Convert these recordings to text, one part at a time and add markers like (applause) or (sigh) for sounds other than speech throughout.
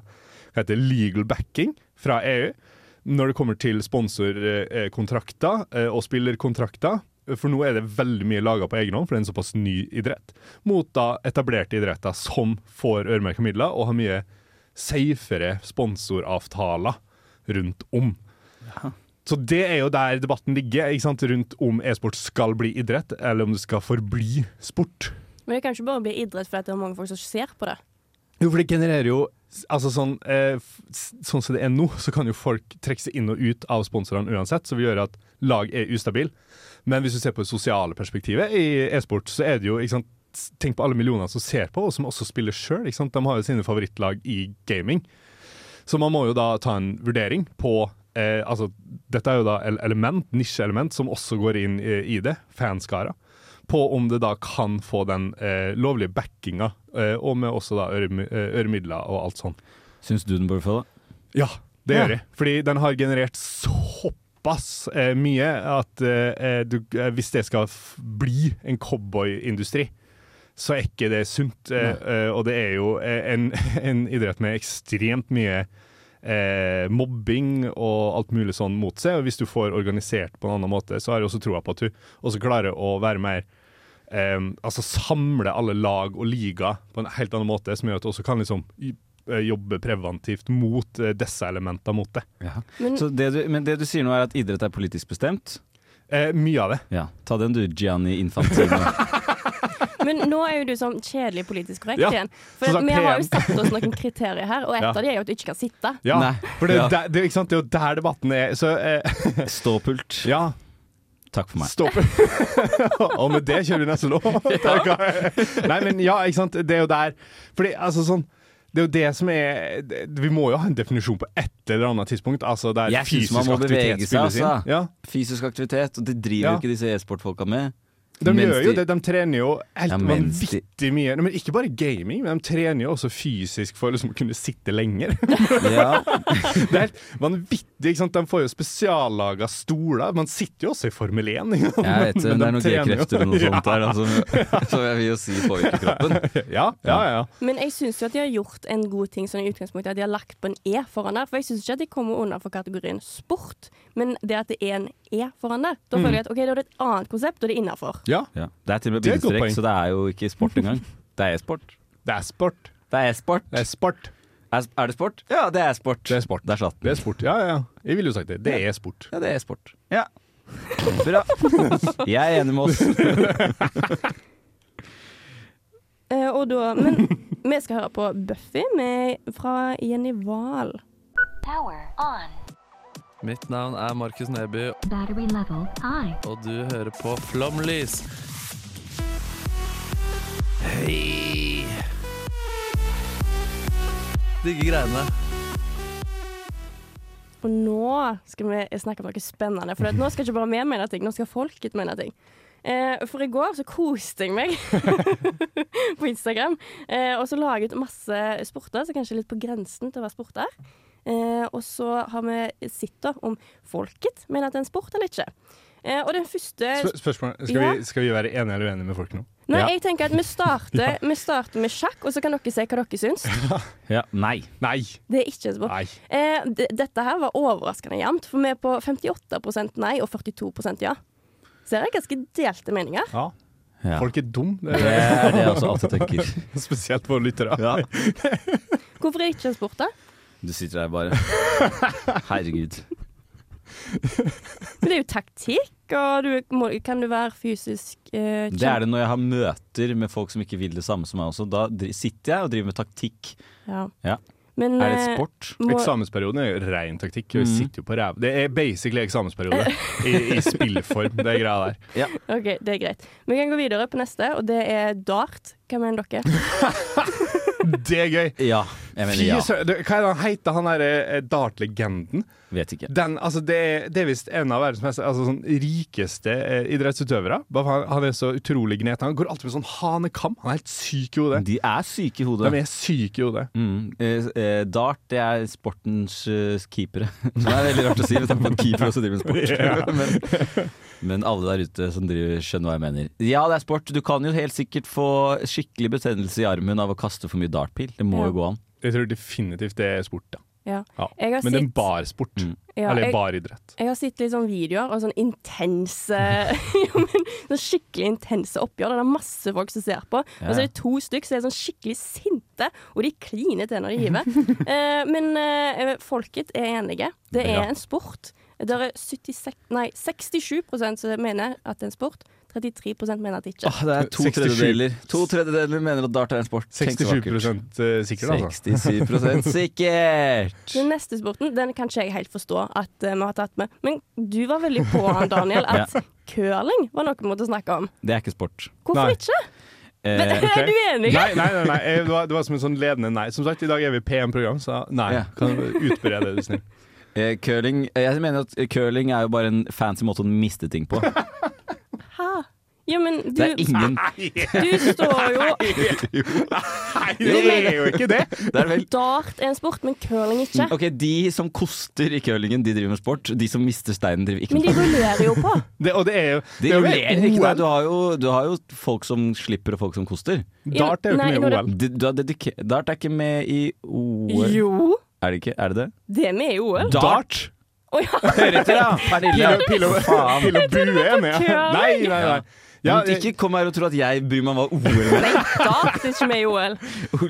hva heter det, legal backing fra EU når det kommer til sponsorkontrakter eh, og spillerkontrakter. For nå er det veldig mye laga på egen hånd, for det er en såpass ny idrett. Mot da etablerte idretter som får øremerka midler og har mye safere sponsoravtaler rundt om. Så det er jo der debatten ligger, ikke sant? rundt om e-sport skal bli idrett, eller om det skal forbli sport. Men det kan ikke bare bli idrett fordi at det er mange folk som ser på det. Jo, for det genererer jo Altså sånn, eh, f- sånn som det er nå, så kan jo folk trekke seg inn og ut av sponsorene uansett, som vil gjøre at lag er ustabil. Men hvis du ser på det sosiale perspektivet i e-sport, så er det jo ikke sant, Tenk på alle millioner som ser på, og som også spiller sjøl. De har jo sine favorittlag i gaming. Så man må jo da ta en vurdering på eh, altså, Dette er jo da el- element, nisjeelement, som også går inn eh, i det. Fanskara. På om det da kan få den eh, lovlige backinga, eh, og med også da øremi- eh, øremidler og alt sånn. Syns du den burde få det? Ja, det Ja. gjør jeg. Fordi den har generert såpass eh, mye at eh, du, eh, hvis det skal f bli en cowboyindustri, så er ikke det sunt. Eh, eh, og det er jo eh, en, (laughs) en idrett med ekstremt mye eh, mobbing og alt mulig sånn mot seg. Og hvis du får organisert på en annen måte, så har jeg også troa på at du også klarer å være mer eh, Altså samle alle lag og liga på en helt annen måte, som gjør at du også kan liksom i- eh, jobbe preventivt mot eh, disse elementene mot det. Ja. Men- så det du, men det du sier nå er at idrett er politisk bestemt? Eh, mye av det. Ja. Ta den du, Gianni Infantino. Men nå er jo du sånn kjedelig politisk korrekt Ja, igjen. så For sa vi har PM. jo satt oss noen kriterier her, og et Ja. av de er jo at du ikke kan sitte. Ja, Nei. for det, er jo Ja. der, det, er jo- ikke sant? det er jo der debatten er. Så eh, (laughs) Ståpult. ja, Takk for meg. (laughs) Stopp. (laughs) og med det kjører vi neste (laughs) låt. Takk. Nei, men ja, ikke sant. Det er jo der Fordi, altså sånn det er jo det som er det- Vi må jo ha en definisjon på et eller annet tidspunkt. Altså der Jeg synes fysisk man må aktivitet bevege seg, spilles inn. altså. Ja. Fysisk aktivitet, og det driver Ja. jo ikke disse e-sportfolka med. De Mens gjør jo de- (laughs) det. De trener jo helt Ja, mens de- vanvittig mye. Nei, Men ikke bare gaming, men de trener jo også fysisk for liksom å kunne sitte lenger. (laughs) Ja. Det er helt vanvittig. ikke sant? De får jo spesiallaga stoler. Man sitter jo også i Formel 1. Ikke sant? Jeg vet, (laughs) det Men- men er de noen trener jo. G-krefter og (laughs) noe sånt der, altså, som jeg vil jo si påvirker (laughs) kroppen. (laughs) Ja, ja, ja. Men jeg syns jo at de har gjort en god ting sånn i utgangspunktet, at de har lagt på en E foran der. For jeg syns ikke at de kommer under for kategorien sport, men det at det er en E foran der, da føler jeg at OK, da er det et annet konsept, og det er innafor. ja. Ja. Det er til og med Det er et godt bindestrek, poeng. så det er jo ikke sport (laughs) engang. Det er e-sport. Det er sport. Det er e-sport. Det er sport. Er, er det sport? Ja, det er sport. Det er sport. Der satt Det den. er sport. Ja, ja, ja. Jeg ville jo sagt det. Det er sport. Ja, det er sport. Ja. (laughs) Bra. Jeg er enig med oss. Eh, og da Men vi skal høre på Buffy med, fra Jenny Wahl. Power on. Mitt navn er Markus Neby, Battery level high. og du hører på Flomlys. Hei! Digge greiene. Og nå skal vi snakke om noe spennende. For at nå skal ikke bare vi mene ting, nå skal folket mene ting. Eh, for i går så koste jeg meg (laughs) på Instagram. Eh, og så la jeg ut masse sporter, så kanskje litt på grensen til å være sporter. Eh, og så har vi sett da om folket mener at det er en sport eller ikke. Eh, og den første Spør spørsmål. Skal, Ja. vi, skal vi være enige eller uenige med folk nå? Nei, Ja. jeg tenker at vi starter, vi starter med sjakk, og så kan dere si hva dere syns. Ja. Nei. Nei. Det er ikke en sport. Nei. Eh, d- dette her var overraskende jevnt, for vi er på 58 nei og 42 ja. Så det er ganske delte meninger. Ja. Ja. Folk er dum. Det Det er det jeg også alltid tenker. er (laughs) spesielt våre lyttere. Hvorfor er det ikke en sport, da? Du sitter der (laughs) bare. Herregud. Men det er jo taktikk, og du må, kan du være fysisk eh, Det er det når jeg har møter med folk som ikke vil det samme som meg også. Da dri- sitter jeg og driver med taktikk. Ja. Ja. Men, Er det eh, sport? må, Eksamensperioden er jo ren taktikk. Vi Mm. sitter jo på ræv. Det er basically eksamensperiode i, i spillform, det greia der. OK, det er greit. Vi kan gå videre på neste, og det er dart. Hva mener dere? (laughs) Det er gøy. Ja. Jeg mener Fy ja. søren. Det- Hva er det han heter, han derre eh, dartlegenden? Vet ikke. Den, altså det, er- det er visst en av verdens mest altså sånn, rikeste eh, idrettsutøvere. Bare for Han, han er så utrolig gnet. Han går alltid med sånn hanekam. Han er helt syk i hodet. De er syke i hodet. De er syke i hodet. Mm. Eh, eh, dart det er sportens eh, keepere. (laughs) Det er veldig rart å si, med tanke på at keeper også driver med (laughs) sport. men, men alle der ute som driver, skjønner hva jeg mener. Ja, det er sport. Du kan jo helt sikkert få skikkelig betennelse i armen av å kaste for mye dartpil. Det må Ja. jo gå an. Jeg tror definitivt det er sport, ja. Ja. ja. Jeg har Men det er en sett- barsport. Mm. Ja, Eller jeg- baridrett. Jeg har sett litt sånn videoer og sånn intense (laughs) ja, men, sånn Skikkelig intense oppgjør. Det er masse folk som ser på. Og så er det to stykk som er sånn skikkelig sinte, og de kliner til når de hiver. (laughs) Eh, men eh, folket er enige. Det er Bra. en sport. Det er 76, nei, 67 som mener at det er en sport. 33 mener at det ikke. Åh, det er to 67. tredjedeler. To tredjedeler mener at dart er en sport. Tenk så 67 vakkert. eh, sikkert, altså. (laughs) 67 sikkert! Den neste sporten den kan ikke jeg helt forstå at eh, vi har tatt med. Men du var veldig på, (laughs) Daniel, at curling var noe vi måtte snakke om. Det er ikke sport. Hvorfor Nei. ikke? Eh, (laughs) Er du enig? Nei, nei, nei, nei. eh, Det, var, det var som en sånn ledende nei. Som sagt, i dag er vi PM-program, så nei. Ja. Kan du utbre det, er (laughs) du snill? eh, (laughs) curling Jeg mener at curling er jo bare en fancy måte å miste ting på. Hæ? Ja, men du, Det er ingen du står jo Nei, det er jo ikke det! Det er vel Dart er en sport, men curling ikke. Ok, De som koster i curlingen, de driver med sport. De som mister steinen, driver ikke Men med de sport. rullerer jo på. det og det er jo De det er jo rullerer ikke, nei. OL. Du har, jo, du har jo folk som slipper og folk som koster. Dart er jo Nei, ikke nå er med det- i OL. De, du har dedike- Dart er ikke med i OL. Jo, Er det ikke? Er det det? det er med i OL. Dart? Å ja. Hører etter, ja! Pernille. Pil og- Pil og Faen. (laughs) pil og bue er med. curling. Nei, nei, nei. Ja, Men ikke kom her og tro at jeg bryr meg om hva OL er. Nei, (laughs) Dart er ikke med i OL.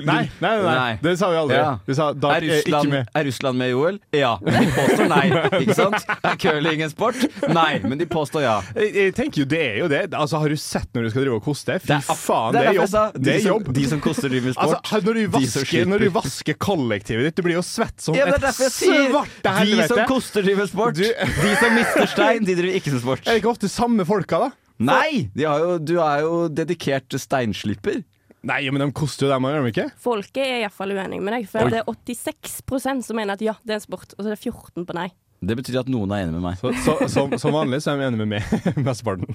nei, nei, nei, nei. Det sa vi aldri. Ja. Vi sa Er Dart er ikke Russland, med. er Russland med i OL? Ja. Men de påstår nei, ikke sant? Er curling en sport? Nei, men de påstår ja. Jeg, jeg tenker jo, Det er jo det. Altså, Har du sett når du skal drive og koste? Fy ak- faen, det er derfor jeg jobb. sa, Det de er som, jobb. De som koster driver med sport. Altså, her- når, du de som vasker, når du slipper. vasker kollektivet ditt, du blir jo svett som Ja, det er et derfor jeg sier svarte De som helvete. koster, driver med sport. De som mister stein, de driver ikke med sport. Er det ikke ofte samme folka, da? Nei! De har jo, du er jo dedikert steinslipper. Nei, men de koster jo dem, gjør de (laughs) ikke? Folket er iallfall uenig med deg, for det er 86 som mener at ja, det er en sport, og så er det 14 på nei. Det betyr at noen er enig med meg. Så, så, som, som vanlig så er de enige med meg, (laughs) mesteparten.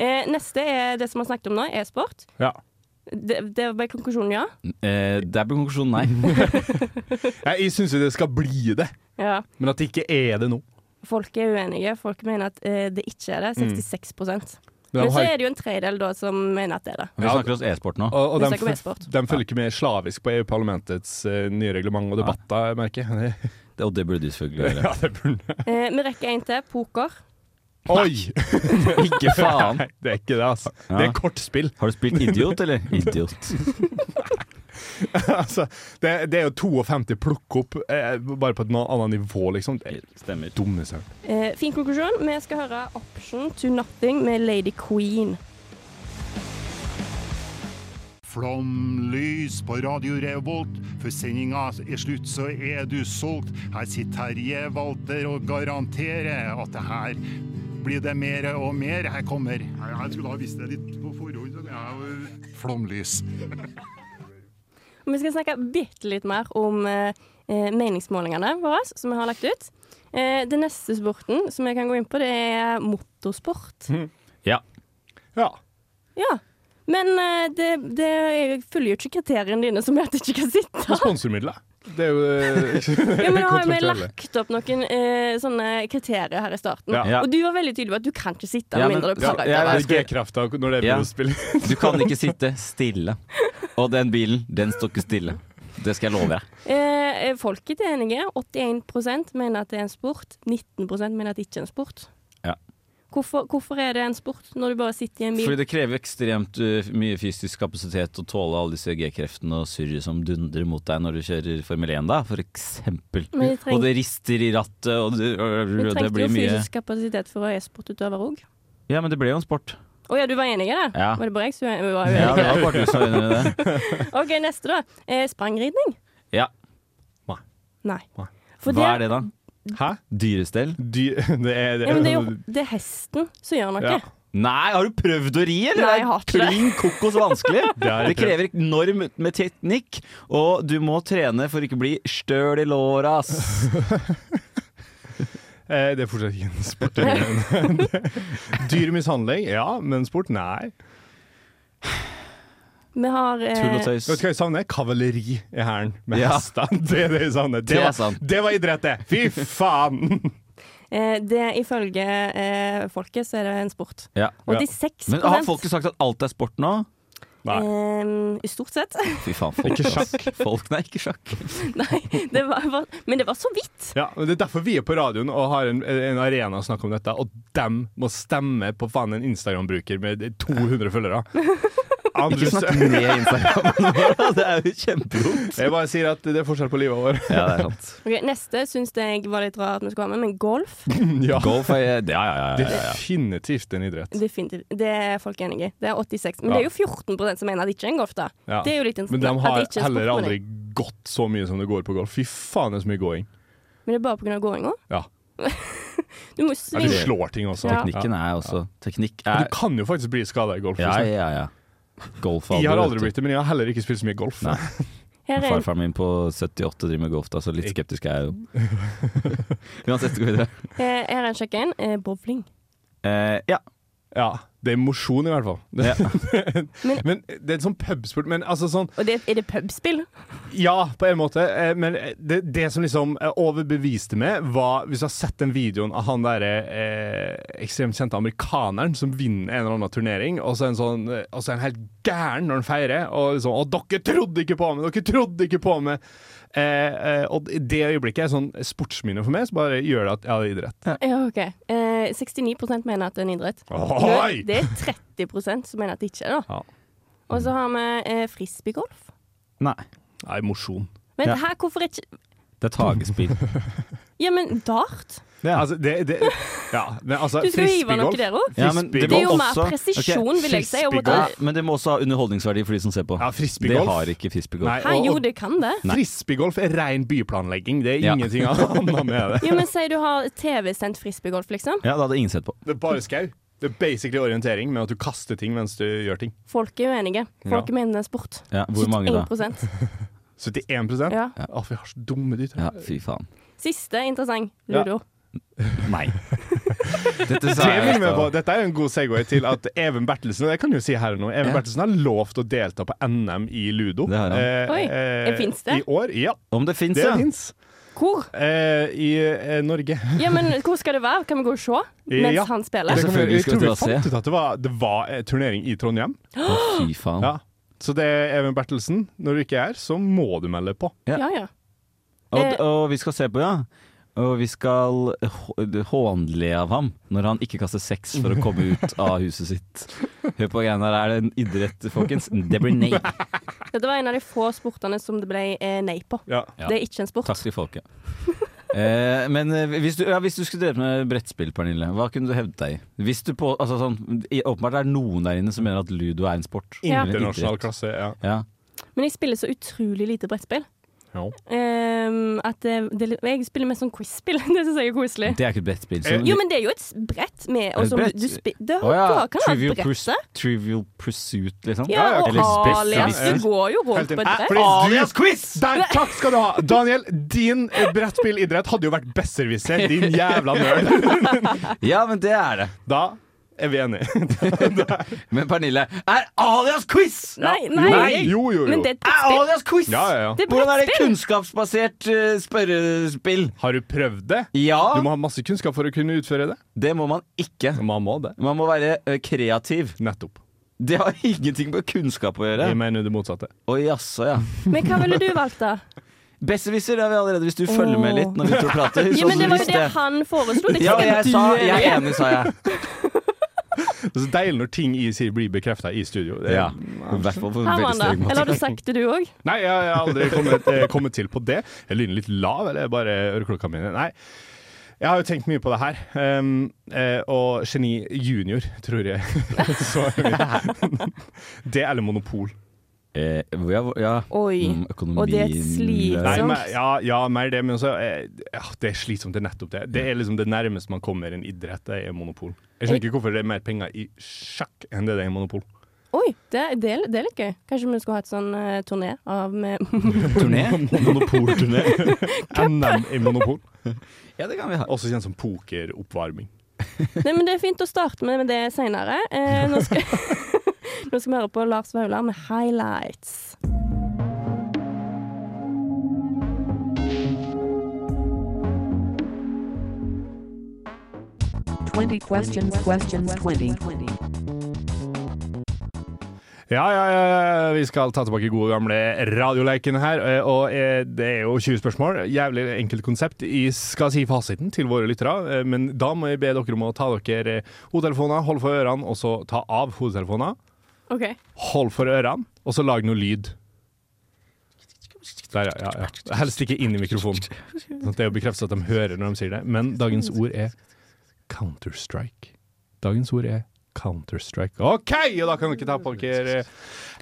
Eh, neste er det som vi har snakket om nå, e-sport. Ja. Det, det ble konklusjonen ja. Eh, der ble konklusjonen (laughs) nei. Jeg, jeg syns jo det skal bli det, ja. men at det ikke er det nå. Folk er uenige. Folk mener at eh, det ikke er det. Mm. 66 Men de Men så har- er det jo en tredel da som mener at det er det. Vi snakker oss e-sport nå. Og, og Vi de, snakker om føl- e-sport. de følger ikke med slavisk på EU-parlamentets eh, nye reglement og debatter, jeg merker (laughs) jeg. Det- Og det burde du selvfølgelig gjøre. det burde Eh, vi rekker en til. Poker. Oi! Ikke faen! (laughs) Nei, det er ikke det, altså. Ja. Det er kortspill. Har du spilt idiot, eller? (laughs) Idiot. (laughs) altså, det, det er jo 52 plukk opp, eh, bare på et noe annet nivå, liksom. Det er Stemmer. dumme søren. Eh, fin konklusjon. Vi skal høre 'Option to Nothing' med Lady Queen. Flomlys på Radio Revolt. Før sendinga er slutt, så er du solgt. Her sitter Terje Walter og garanterer at det her blir det mer og mer. Her kommer Jeg skulle ha visst det litt på forhånd. Flomlys. Og vi skal snakke bitte litt mer om eh, eh, meningsmålingene våre som vi har lagt ut. Eh, det neste sporten som jeg kan gå inn på, det er motorsport. Hmm. Ja. Ja. Ja. Men eh, det, det følger jo ikke kriteriene dine, som gjør at jeg ikke kan sitte. (laughs) Og sponsormidler. Det er jo (laughs) eh, Ja, men da har vi Kontraktuelle. lagt opp noen eh, sånne kriterier her i starten. Ja. Ja. Og du var veldig tydelig på at du kan ikke sitte Ja, med men- mindre du ja, pakker ja, ut. ja. Det er G-krafta når det er Ja. videospill. (laughs) Du kan ikke sitte stille. Og den bilen, den står ikke stille. Det skal jeg love deg. Eh, eh, folket er enige. 81 mener at det er en sport. 19 mener at det ikke er en sport. Ja. Hvorfor, hvorfor er det en sport når du bare sitter i en Fordi bil? det krever ekstremt uh, mye fysisk kapasitet å tåle alle disse G-kreftene og surret som dundrer mot deg når du kjører Formel 1, da, for eksempel. Men vi treng- Og det rister i rattet, og det, og Du det trengte jo blir mye fysisk kapasitet for å være e-sportutøver òg. Ja, men det ble jo en sport. Å ja, du var enig i det? Ja. Var det bare jeg som var uenig? Ja, det var bare du som var enig i det. OK, neste, da. Eh, sprangridning? Ja. Nei. Nei. (laughs) For Hva er det, da? Hæ? Dyrestell? Dy det er det. Ja, men det, er jo, det er hesten som gjør noe. Ja. Nei, har du prøvd å ri, eller? Nei, jeg har ikke det. er Klin kokos vanskelig. (laughs) Det har Det jeg krever enorm med teknikk, og du må trene for ikke å bli støl i låra, ass. Eh, det er fortsatt ikke en sport. (laughs) Dyr mishandling? Ja, men sport? Nei. Vi har eh, Tull og tøys. Vet du hva jeg savner? Kavaleri i hæren med Ja. hester. (laughs) Det er det jeg savner. Det, Det er var, sant. det var idrett, det! Fy faen! (laughs) eh, det, Ifølge eh, folket så er det en sport. Ja. 86 Men har folket sagt at alt er sport nå? Nei. eh, Stort sett. Fy faen, folk, Ikke ass. Folk, nei, ikke sjakk. Nei, det var, var, men det var så vidt. Ja, men Det er derfor vi er på radioen og har en, en arena å snakke om dette, og dem må stemme på faen en Instagram-bruker med 200 følgere. Ikke Andres, snakk ned (laughs) Instagramen vår, det er jo kjempedumt. jeg bare sier at det er forskjell på livet vårt. Ja, det er sant. Ok, neste syns jeg var litt rart at vi skulle ha med, men golf Ja, Golf er Ja, ja, ja. ja, ja. definitivt en idrett. definitivt, det er folk enig i. Det er 86. Men Ja. det er jo 14 som mener at det ikke er en golf, da. Ja. Det er jo litt Men de interessant. at har det ikke er en heller sport, mener aldri jeg. gått så mye som det går på golf. Fy faen, det er så mye gåing. Men det er bare pga. gåinga? Ja. (laughs) Du må jo Ja, du svinge. slår ting også. Ja. Teknikken er også Teknikk Du er kan jo faktisk bli skada i golf. Ja, liksom. ja, ja. Golf Jeg har aldri blitt det, men jeg har heller ikke spilt så mye golf. Nei. Her er en, Farfaren min på 78 driver med golf, da, så litt skeptisk (laughs) er jeg jo. Uansett, gå videre. eh, her er en sjekk inn. Eh, bowling. Eh, ja. Ja, det er mosjon i hvert fall. Ja. (laughs) men, det er sånn pubsport, men altså sånn Og det, er det pubspill? Ja, på en måte, eh, men det, det som liksom eh, overbeviste meg, var hvis du har sett den videoen av han derre eh, ekstremt kjente amerikaneren som vinner en eller annen turnering, og så er han sånn, eh, og så er han helt gæren når han feirer, og liksom 'Å, dere trodde ikke på meg! Dere trodde ikke på meg!' Eh, eh, og det øyeblikket er sånn sportsminne for meg, så bare gjør det at ja, det er idrett. Ja, OK. Eh, 69 mener at det er en idrett. Oi! Det er 30 som mener at det ikke er det. da. Ja. Og så har vi eh, frisbeegolf. Nei. Nei, mosjon. Men Ja. her, hvorfor ikke Det er (laughs) tagespill. Ja, men dart? Altså, det, det Ja, men altså, Du skal jo hive noe frisbeegolf der òg. Ja, men Det er jo må mer også- presisjon, Ok, vil jeg si. Og Ja, måtte, men det må også ha underholdningsverdi for de som ser på. Ja, det frisbeegolf. har ikke frisbeegolf. Nei, Hæ, og- jo, og- det kan det. Frisbeegolf er ren byplanlegging. Det er Ja. (laughs) ingenting annet med det. Jo, men Si du har TV-sendt frisbeegolf, liksom. Ja, det hadde ingen sett på. Det er bare skau. Det er basically orientering med at du kaster ting mens du gjør ting. Folk er uenige. Folk Ja. mener det er sport. Ja, hvor mange da? 71%. (laughs) 71 Ja. Å, vi har så dumme dyr. Ja, fy faen. Siste interessant. Ludo. Nei. (laughs) Dette Det vil i vi på. stad. Dette er jo en god segway til at Even Bertelsen og det kan jeg jo si her og nå, Even Ja. Bertelsen har lovt å delta på NM i ludo. Eh, Det har han. Oi, det finnes det? I år, ja. Om det fins, Det ja. fins. Hvor? Eh, I eh, Norge. Ja, men hvor skal det være? Kan vi gå og se mens Ja. han Det spiller? kan vi- selvfølgelig Jeg skal vi tror vi dra og se. fant ut at det var, det var eh, turnering i Trondheim. Å, fy faen. Ja. Så det er Even Bertelsen. Når du ikke er, så må du melde på. Ja. Ja, ja. Og, og vi skal se på, ja. Og vi skal hå- hånle av ham når han ikke kaster sex for å komme (laughs) ut av huset sitt. Hør på greiene her, er det en idrett, folkens? Det blir nei. Dette var en av de få sportene som det ble eh, nei på. Ja. Ja. Det er ikke en sport. Takk til folket. Eh, men eh, hvis du, ja, hvis du skulle drevet med brettspill, Pernille, hva kunne du hevdet deg i? Hvis du på, altså sånn, i- Åpenbart er det noen der inne som mener at ludo er en sport. Ja. Eller en Internasjonal idrett. klasse, ja. Ja. Men jeg spiller så utrolig lite brettspill. Ja. Ehm, at det, det, jeg spiller mest sånn quiz-spill. (laughs) Det syns jeg er koselig. Det er ikke et brettspill. Eh, så- Jo, men det er jo et s- brett Er med det og et som brett? Du spi det Å ja, da kan Trivial ha brettet. Pursuit- Trivial Pursuit, liksom? Ja, ja, og eller alias. spesifikt. Du går jo rundt på et Helt enig. brett. Fordi du- quiz! Der, takk skal du ha! Daniel, din eh, brettspillidrett hadde jo vært besserwisser, (laughs) din jævla nerd. Ja, men det er det. Da er vi enige. Men Pernille, er alias quiz?! Nei, nei, jeg- Jo, jo, jo. Men det er et Er brettspill. alias quiz?! Ja, ja, ja. Det er Hvordan er det brettspill. kunnskapsbasert eh, spørrespill? Har du prøvd det? Du Ja, må ha masse kunnskap for å kunne utføre det. det må man ikke. Man må det. Man må være eh, kreativ. Nettopp. Det har (laughs) ingenting med kunnskap å gjøre. Jeg mener det motsatte. Å jaså, ja. Men hva ville du valgt, (laughs) da? Besserwisser har vi allerede, hvis du følger med litt når vi to prater. Ja, men sånn det var jo hvis det han foreslo. Det er Ja, ikke jeg det sa du Jeg er gjør. enig, sa jeg. Det er så deilig når ting i sier blir bekrefta i studio. Det- Ja. I hvert fall på Her var veldig han da. streng måte. Eller har du sagt det, du òg? Nei, jeg jeg har aldri kommet, eh, kommet til på det. Jeg lyner litt lav, eller er bare øreklokka mine. Nei. Jeg har jo tenkt mye på det her, um, eh, og Geni Junior, tror jeg. (laughs) Så er vi- det eller Monopol. Eh, ja, ja. Oi. Mm, økonomi Og det er et slit. Nei. Nei, Sant? men, ja, ja, mer det, men også, eh, ja, det er slitsomt. Det er nettopp det. Det er liksom det nærmeste man kommer en idrett, det er monopol. Jeg skjønner ikke hvorfor det er mer penger i sjakk enn det det er i monopol. Oi, det, det, er- det er litt gøy. Kanskje vi skulle hatt sånn eh, turné av med (laughs) Turné? (laughs) Monopolturné. NM i monopol. Ja, det kan vi ha. Også kjent som pokeroppvarming. Nei, men det er fint å starte med det seinere. Eh, nå, skal- (laughs) nå skal vi høre på Lars Vaular med 'Highlights'. Ja, ja, ja, ja, vi skal ta tilbake gode gamle radioleiken her. eh, Og eh, det er jo 20 spørsmål. Jævlig enkelt konsept. Jeg skal si fasiten til våre lyttere, eh, men da må jeg be dere om å ta dere eh, hodetelefoner, holde for ørene, og så ta av hodetelefoner. OK. Hold for ørene, og så lag noe lyd. Der, ja, ja, ja. Helst ikke inn i mikrofonen. Sånn at Det er jo bekreftet at de hører når de sier det. Men dagens ord er Counter-Strike. Dagens ord er Counter-Strike. OK, og da kan dere ta på dere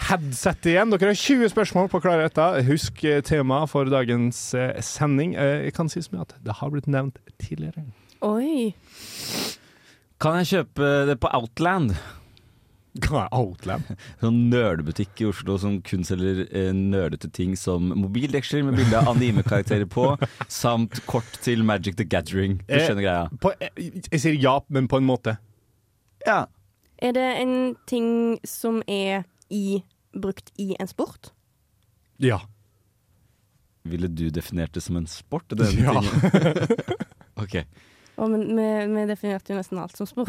headset igjen. Dere har 20 spørsmål på å klare dette. Husk eh, temaet for dagens eh, sending. Eh, Jeg kan si så mye at det har blitt nevnt tidligere. Oi. Kan jeg kjøpe det på Outland? Hva er Outland? Sånn nerdebutikk i Oslo som kun selger eh, nerdete ting som mobildeksler med bilde av anime-karakterer (laughs) på, samt kort til Magic the Gathering. Du Eh, skjønner greia? På, jeg, jeg sier ja, men på en måte. Ja. Er det en ting som er i, brukt i en sport? Ja. Ville du definert det som en sport? Det er den Ja. tingen. (laughs) ok. Og men, vi, vi definerte jo nesten alt som sport.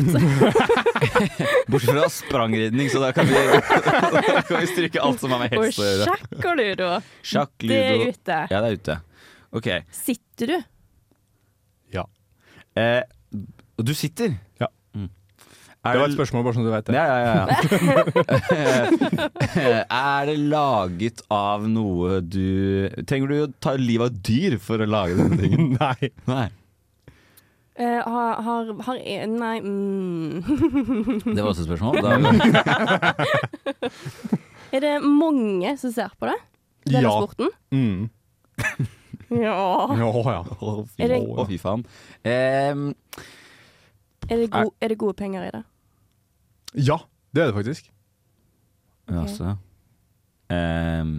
(laughs) Bortsett fra sprangridning, så da kan vi, (laughs) da kan vi stryke alt som har med Og hest å gjøre. sjakk og ludo. Sjakk, Det er ludo ute. Ja, det er ute. Ok. Sitter du? Eh, og du sitter? Ja. Mm. Det var Er et det, spørsmål, bare så du vet det. ja, ja, ja, ja. (laughs) er det laget av noe du Trenger du å ta livet av et dyr for å lage denne tingen? (laughs) Nei. Nei. Eh, har, har, har en Nei. Mm. (laughs) Det var også et spørsmål. Da, Er det mange som ser på det? Denne Ja. sporten? Mm. Ja. Å, ja. (laughs) å, fy, Er det- å, fy faen. Em, Er det, go er det gode penger i det? ja, det er det faktisk. ja, så. Em,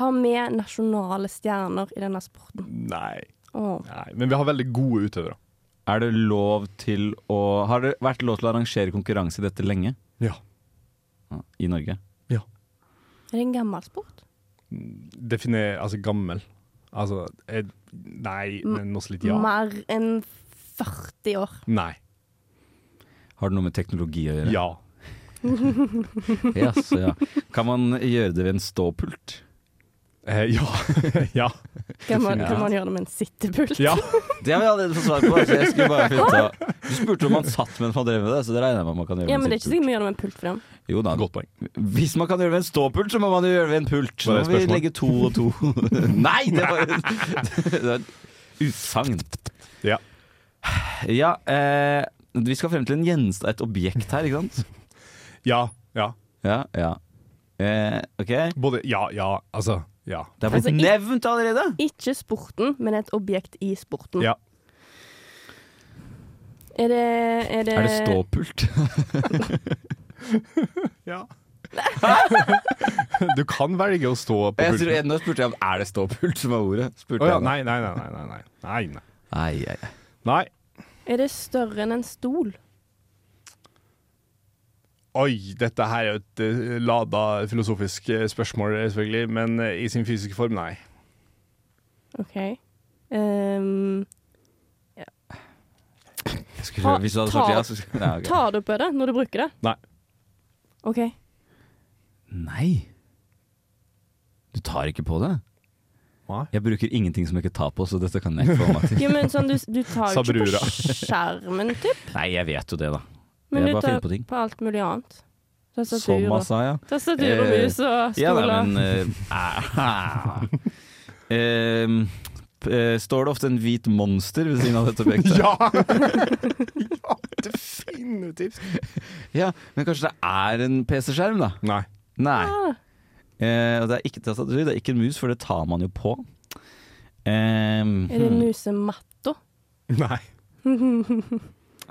Har vi nasjonale stjerner i denne sporten? Nei. Åh. Nei. Men vi har veldig gode utøvere. er det lov til å Har det vært lov til å arrangere konkurranse i dette lenge? Ja. Ja, I Norge? Er det en gammel sport? Definer Altså gammel. Altså eh, Nei, men også litt ja. Mer enn 40 år. Nei. Har det noe med teknologi å gjøre? Ja. Ja, så, ja. Kan man gjøre det ved en ståpult? Eh, ja. (laughs) ja. Kan man, Definitivt. kan man gjøre det med en sittepult? Ja. Det har vi allerede fått svar på. Så jeg skulle bare finne ut av- Du spurte om man satt mens man drev med det, så det regner jeg med man kan gjøre. Ja, med men det er sitt ikke sikkert vi gjør det med en pult for den. pult. Jo da. Godt poeng. Hvis man kan gjøre det ved en ståpult, så må man jo gjøre det ved en pult. Så må Var det et vi spørsmål? legge to og (laughs) to. Nei, det var (laughs) det var et utsagn. Ja. Ja, eh, vi skal frem til en gjenstand, et objekt her, ikke sant? Ja. Ja. Ja, ja. Eh, ok. Både Ja, ja. Altså Ja. Det har blitt Altså, i- nevnt allerede. Ikke sporten, men et objekt i sporten. Ja. Er det Er det, Er det ståpult? (laughs) Ja. (laughs) du kan velge å stå på Jeg tror, pulten. nå spurte jeg om er det ståpult som er ordet. Spurte Å ja, jeg da. nei, nei, nei, nei, nei, nei, nei. Ai, ai, ai. Nei. er det større enn en stol? Oi, dette her er jo et eh, lada filosofisk eh, spørsmål, eh, selvfølgelig, men eh, i sin fysiske form, nei. OK. Ehm, Jeg skulle, Ta- hvis du hadde ta- svart ja, så skulle ja, ok. tar du på det når du bruker det? Nei. OK. Nei. Du tar ikke på det? Nei. Jeg bruker ingenting som jeg ikke tar på, så dette kan jeg ikke (laughs) få meg til. Jo, men sånn, du, du tar jo ikke Sabrura. på skjermen, typ. Nei, jeg vet jo det, da. Men jeg du bare tar finner på på, ting. alt mulig annet. Tastatur Som og han sa, ja. tastatur og Eh, mus og Ja, stoler. nei, men eh, (laughs) eh, p- eh, Står det ofte en hvit monster ved siden av dette (laughs) objektet? (laughs) Ja! (laughs) ja, definitivt. ja, Men kanskje det er en PC-skjerm, da? Nei. Nei. Ah, Eh, og det er ikke tastatur, det er ikke en mus, for det tar man jo på. Eh, er det hmm, musematta? Nei.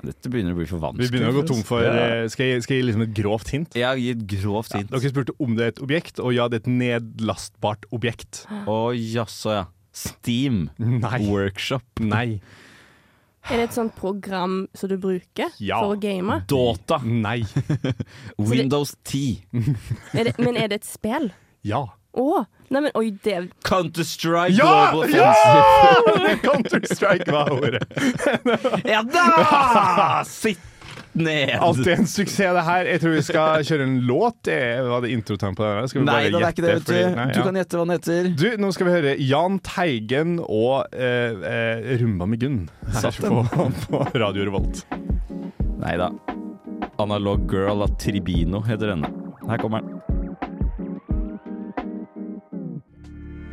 dette begynner å bli for vanskelig. Vi begynner å gå for tom oss. for ja. eh, Skal jeg, skal jeg gi liksom et grovt hint? Jeg har gitt grovt hint. Dere spurte om det er et objekt, og ja, det er et nedlastbart objekt. (gasps) Å jaså, ja. Steam Nei. Workshop. Nei. Er det et sånt program som du bruker Ja. for å game? Dota. Nei. det- Windows 10. Er det, men er det et spill? Ja. Å! Nei, men oi, det Counter-Strike Ja! Global Ja! Offensive. (laughs) Counter-Strike var ordet. Ja da! Sitt ned. Alltid en suksess, det her. Jeg tror vi (laughs) skal kjøre en låt. Eh, Var det introtegn på den? her? Skal vi Nei bare da, det er ikke det, gjette, vet du. fordi- nei, Du ja. kan gjette hva den heter. Du, nå skal vi høre Jahn Teigen og eh, eh, Rumba med Gunn her på, (laughs) på Radio Revolt. Nei da. Analog Girl av Tribino heter denne. Her kommer den.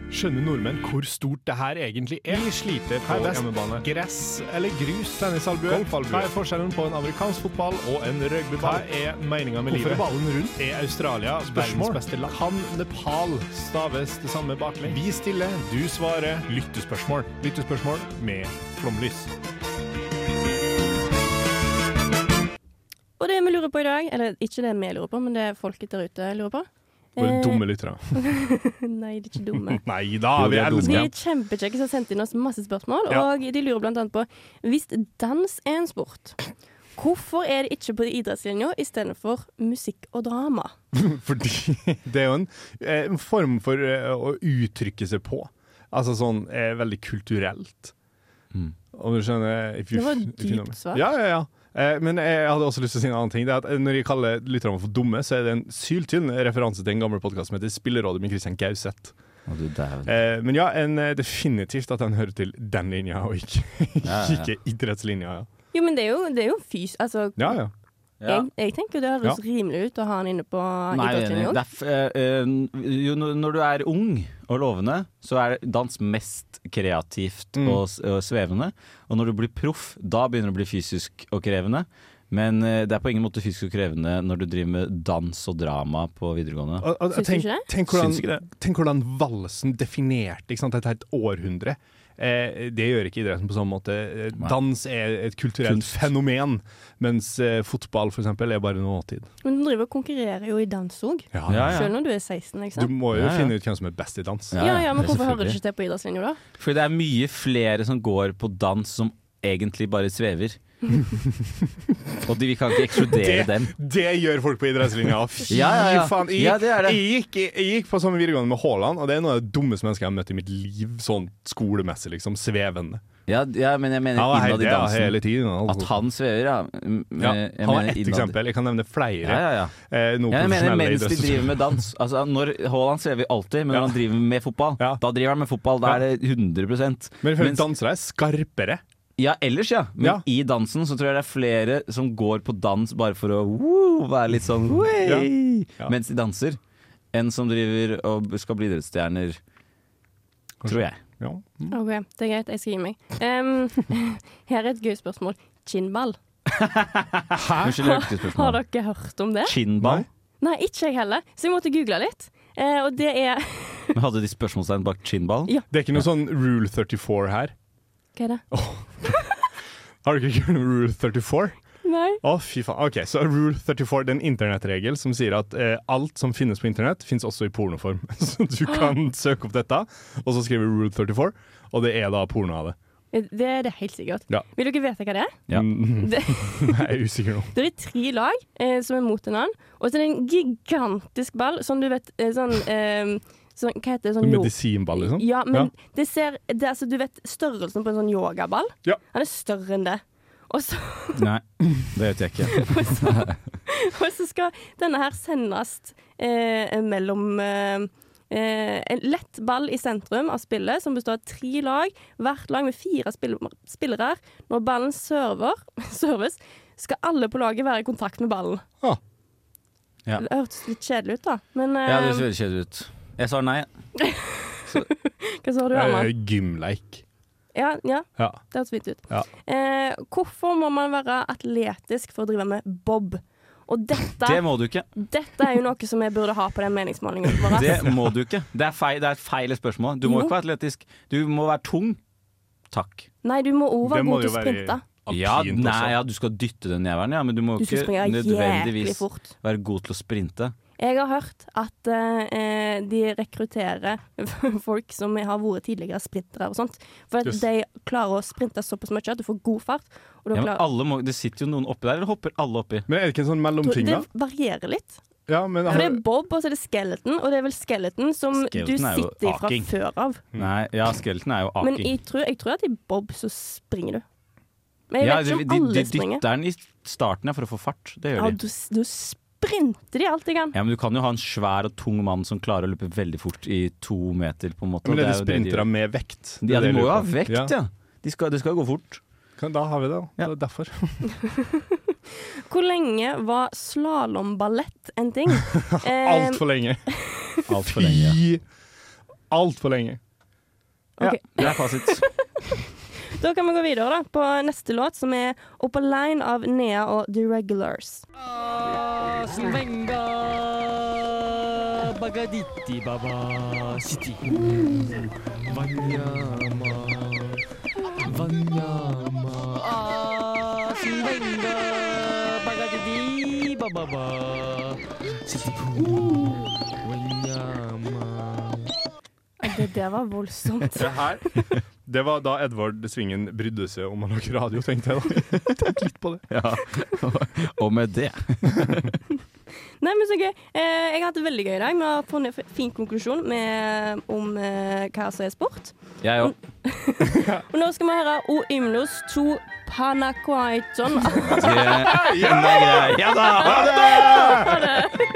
Skjønner nordmenn hvor stort det her egentlig er? Vi sliter på hjemmebane. Gress eller grus? Tennisalbue? Hva er forskjellen på en amerikansk fotball og en rugbyball? Hva er meninga med livet? Hvorfor er ballen rundt? Er Australia verdens beste land? Kan Nepal staves det samme baklengs? Vi stiller, du svarer. Lyttespørsmål. Lyttespørsmål med flomlys. Og det vi lurer på i dag, eller ikke det vi lurer på, men det folket der ute lurer på Våre Eh, dumme lyttere. (laughs) Nei, de er ikke (laughs) dumme. (laughs) Nei da, Jo, vi vi er dumme. De elsker er kjempekjekke som har sendt inn oss masse spørsmål, Ja. og de lurer blant annet på Hvis dans er en sport, Hvorfor er det ikke på idrettslinja istedenfor musikk og drama? Fordi (laughs) det er jo en, eh, en form for eh, å uttrykke seg på. Altså sånn eh, veldig kulturelt. Mm. Om du skjønner eh, if you- Det var et if you know me. dypt svar. Ja, ja, ja. Eh, men jeg hadde også lyst til å si en annen ting. Det er at eh, Når jeg kaller lytterne for dumme, så er det en syltynn referanse til en gammel podkast som heter Spillerådet med Christian Gauseth. Å, du dæven. Eh, men ja, en, eh, definitivt at den hører til den linja, og ikke, (laughs) Ja, ja, ja. ikke idrettslinja. Jo, men det er jo, det er jo fys... Altså, Ja, ja. Ja. jeg, jeg tenker jo det høres rimelig ut å ha han inne på Nei, jeg er enig. idrettslinja. Det er f- eh, eh, jo, når- når du er ung og lovende, så er dans mest kreativt Mm. og, s- og svevende. Og når du blir proff, da begynner det å bli fysisk og krevende. Men eh, det er på ingen måte fysisk og krevende når du driver med dans og drama på videregående. Og, og, Syns du tenk, ikke det? Tenk hvordan, Syns ikke det. tenk hvordan valsen definerte ikke sant, et helt århundre. Eh, det gjør ikke idretten på sånn måte. Eh, Nei. Dans er et kulturelt Kunst. fenomen, mens eh, fotball for eksempel, er bare nåtid. Men du driver og konkurrerer jo i dans òg, Ja, Ja, selv ja. når du er 16. ikke Du sant? må jo Ja, ja. finne ut hvem som er best i dans. Ja, Ja, ja, men det er hvorfor hører du selvfølgelig. ikke til på idrettslinja da? Fordi det er mye flere som går på dans som egentlig bare (laughs) svever. og de, vi kan ikke ekskludere dem. Det gjør folk (laughs) på idrettslinja! Fy Ja, ja, ja. faen! Jeg, Ja, det er det. Jeg, gikk, jeg, gikk på samme videregående med Haaland, og det er noe av det dummeste mennesket jeg har møtt i mitt liv, sånn skolemessig, liksom. Svevende. Ja, ja, men jeg mener Han var innad helt- i ja, dansen. hele tiden. altså. At han svever, ja. M- ja, jeg han var mener ett innad- eksempel. Jeg kan nevne flere. Ja, ja, ja. Eh, noen Ja, jeg mener profesjonelle mens de idretts- driver med dans. Altså, når Haaland svever alltid, men når Ja. han driver med fotball, Ja. da driver han med fotball. Da Ja. er det 100 (laughs) Men jeg føler Mens- dansere er skarpere. Ja, ellers, ja. Men Ja. i dansen så tror jeg det er flere som går på dans bare for å woo, være litt sånn «Wey!» Ja. mens de danser, enn som driver og skal bli idrettsstjerner. Tror jeg. Ja. Ok, Det er greit, jeg skal gi meg. Em, (laughs) her er et gøy spørsmål. Kinnball. Unnskyld, jeg hørte ikke Har spørsmålet. dere hørt om det? Kinnball? Nei, ikke jeg heller, så jeg måtte google litt. Eh, og det er (laughs) Men hadde de spørsmålstegn bak kinnball? Ja. Det er ikke noe sånn Rule 34 her. Hva er det? Har dere ikke hørt om Rule 34? Nei. Å, fy faen. Ok, så Rule 34 det er en internettregel som sier at eh, alt som finnes på internett, finnes også i pornoform. (laughs) Så du kan søke opp dette, og så skriver du Rule 34, og det er da porno av det. Eh, Det er det helt sikkert. Ja. Vil dere vite hva det er? Ja. (laughs) Mm. (laughs) Det- Jeg er usikker nå. Det er tre lag eh, som er mot hverandre, og så er det en gigantisk ball, sånn du vet eh, sånn, eh, sånn Hva heter det? Sånn yo- Medisinball, liksom? Ja, men Ja. det ser det, er altså, Du vet størrelsen på en sånn yogaball? Ja. Han er større enn det. Og så, Nei, det vet jeg ikke. og så skal denne her sendes eh, mellom eh, eh, En lett ball i sentrum av spillet, som består av tre lag. Hvert lag med fire spill spillere. Når ballen server, (laughs) serves, skal alle på laget være i kontakt med ballen. Ah. Ja. Det hørtes litt kjedelig ut, da. Men eh, Ja, det høres veldig kjedelig ut. Jeg svarer nei. hva sa du, Eh, Herman? Gymleik. Ja, ja, Ja. Det høres fint ut. Ja. Eh, hvorfor må man være atletisk for å drive med bob? Og dette, Det må du ikke. dette er jo noe som jeg burde ha på den meningsmålingen. vår. (laughs) Det (laughs) må du ikke. Det er feil, det er feil spørsmål. Du må Jo. ikke være atletisk. Du må være tung. Takk. Nei, du må òg Det være må god til å jo være- sprinte. Ja, Alpint nei, også. ja, du skal dytte den jævelen, ja, men du må Du skal ikke springe jæklig nødvendigvis fort. være god til å sprinte. Jeg har hørt at eh, de rekrutterer (laughs) folk som har vært tidligere sprintere og sånt. For at Yes. de klarer å sprinte såpass mye at du får god fart. Og du Ja, men klarer, alle må, det sitter jo noen oppi der, eller hopper alle oppi? Men er det ikke en sånn mellomting, da? det varierer litt. Ja, men For det er bob, og så er det skeleton, og det er vel skeleton som Skeleton du er jo sitter i fra aking. før av. Mm. Nei, ja, skeleton er jo Men aking. jeg tror, jeg tror at i bob så springer du. Men jeg Ja, vet de, ikke om de, alle de springer. dytter den i starten ja, for å få fart. Det Ja, gjør de. du, du sprinter de alt de kan. Ja, men Du kan jo ha en svær og tung mann som klarer å løpe veldig fort i to meter. på en måte Men er det jo de sprintere gjør. med vekt? Det er Ja, de det jeg må jo ha lurer på. vekt, ja. De skal, det skal gå fort. Kan- Da har vi det, da. Ja. Det er derfor. Hvor lenge var slalåmballett en ting? Eh, Altfor lenge. Altfor lenge. ja. Altfor lenge. ok. Det er fasit. Da kan vi gå videre da, på neste låt, som er Up a Line av Nea og The Regulars. Det der var voldsomt. Det her, (laughs) Det var da Edvard Svingen brydde seg om å lage radio, tenkte jeg da. Tenk litt på det. (laughs) Ja. Og med det (laughs) Nei, men så gøy. Eh, jeg har hatt det veldig gøy i dag. Vi har funnet en fin konklusjon med, om eh, hva som er sport. Jeg (laughs) òg. Og nå skal vi høre O Ymlos to Panakwaiton. Ja da! (laughs)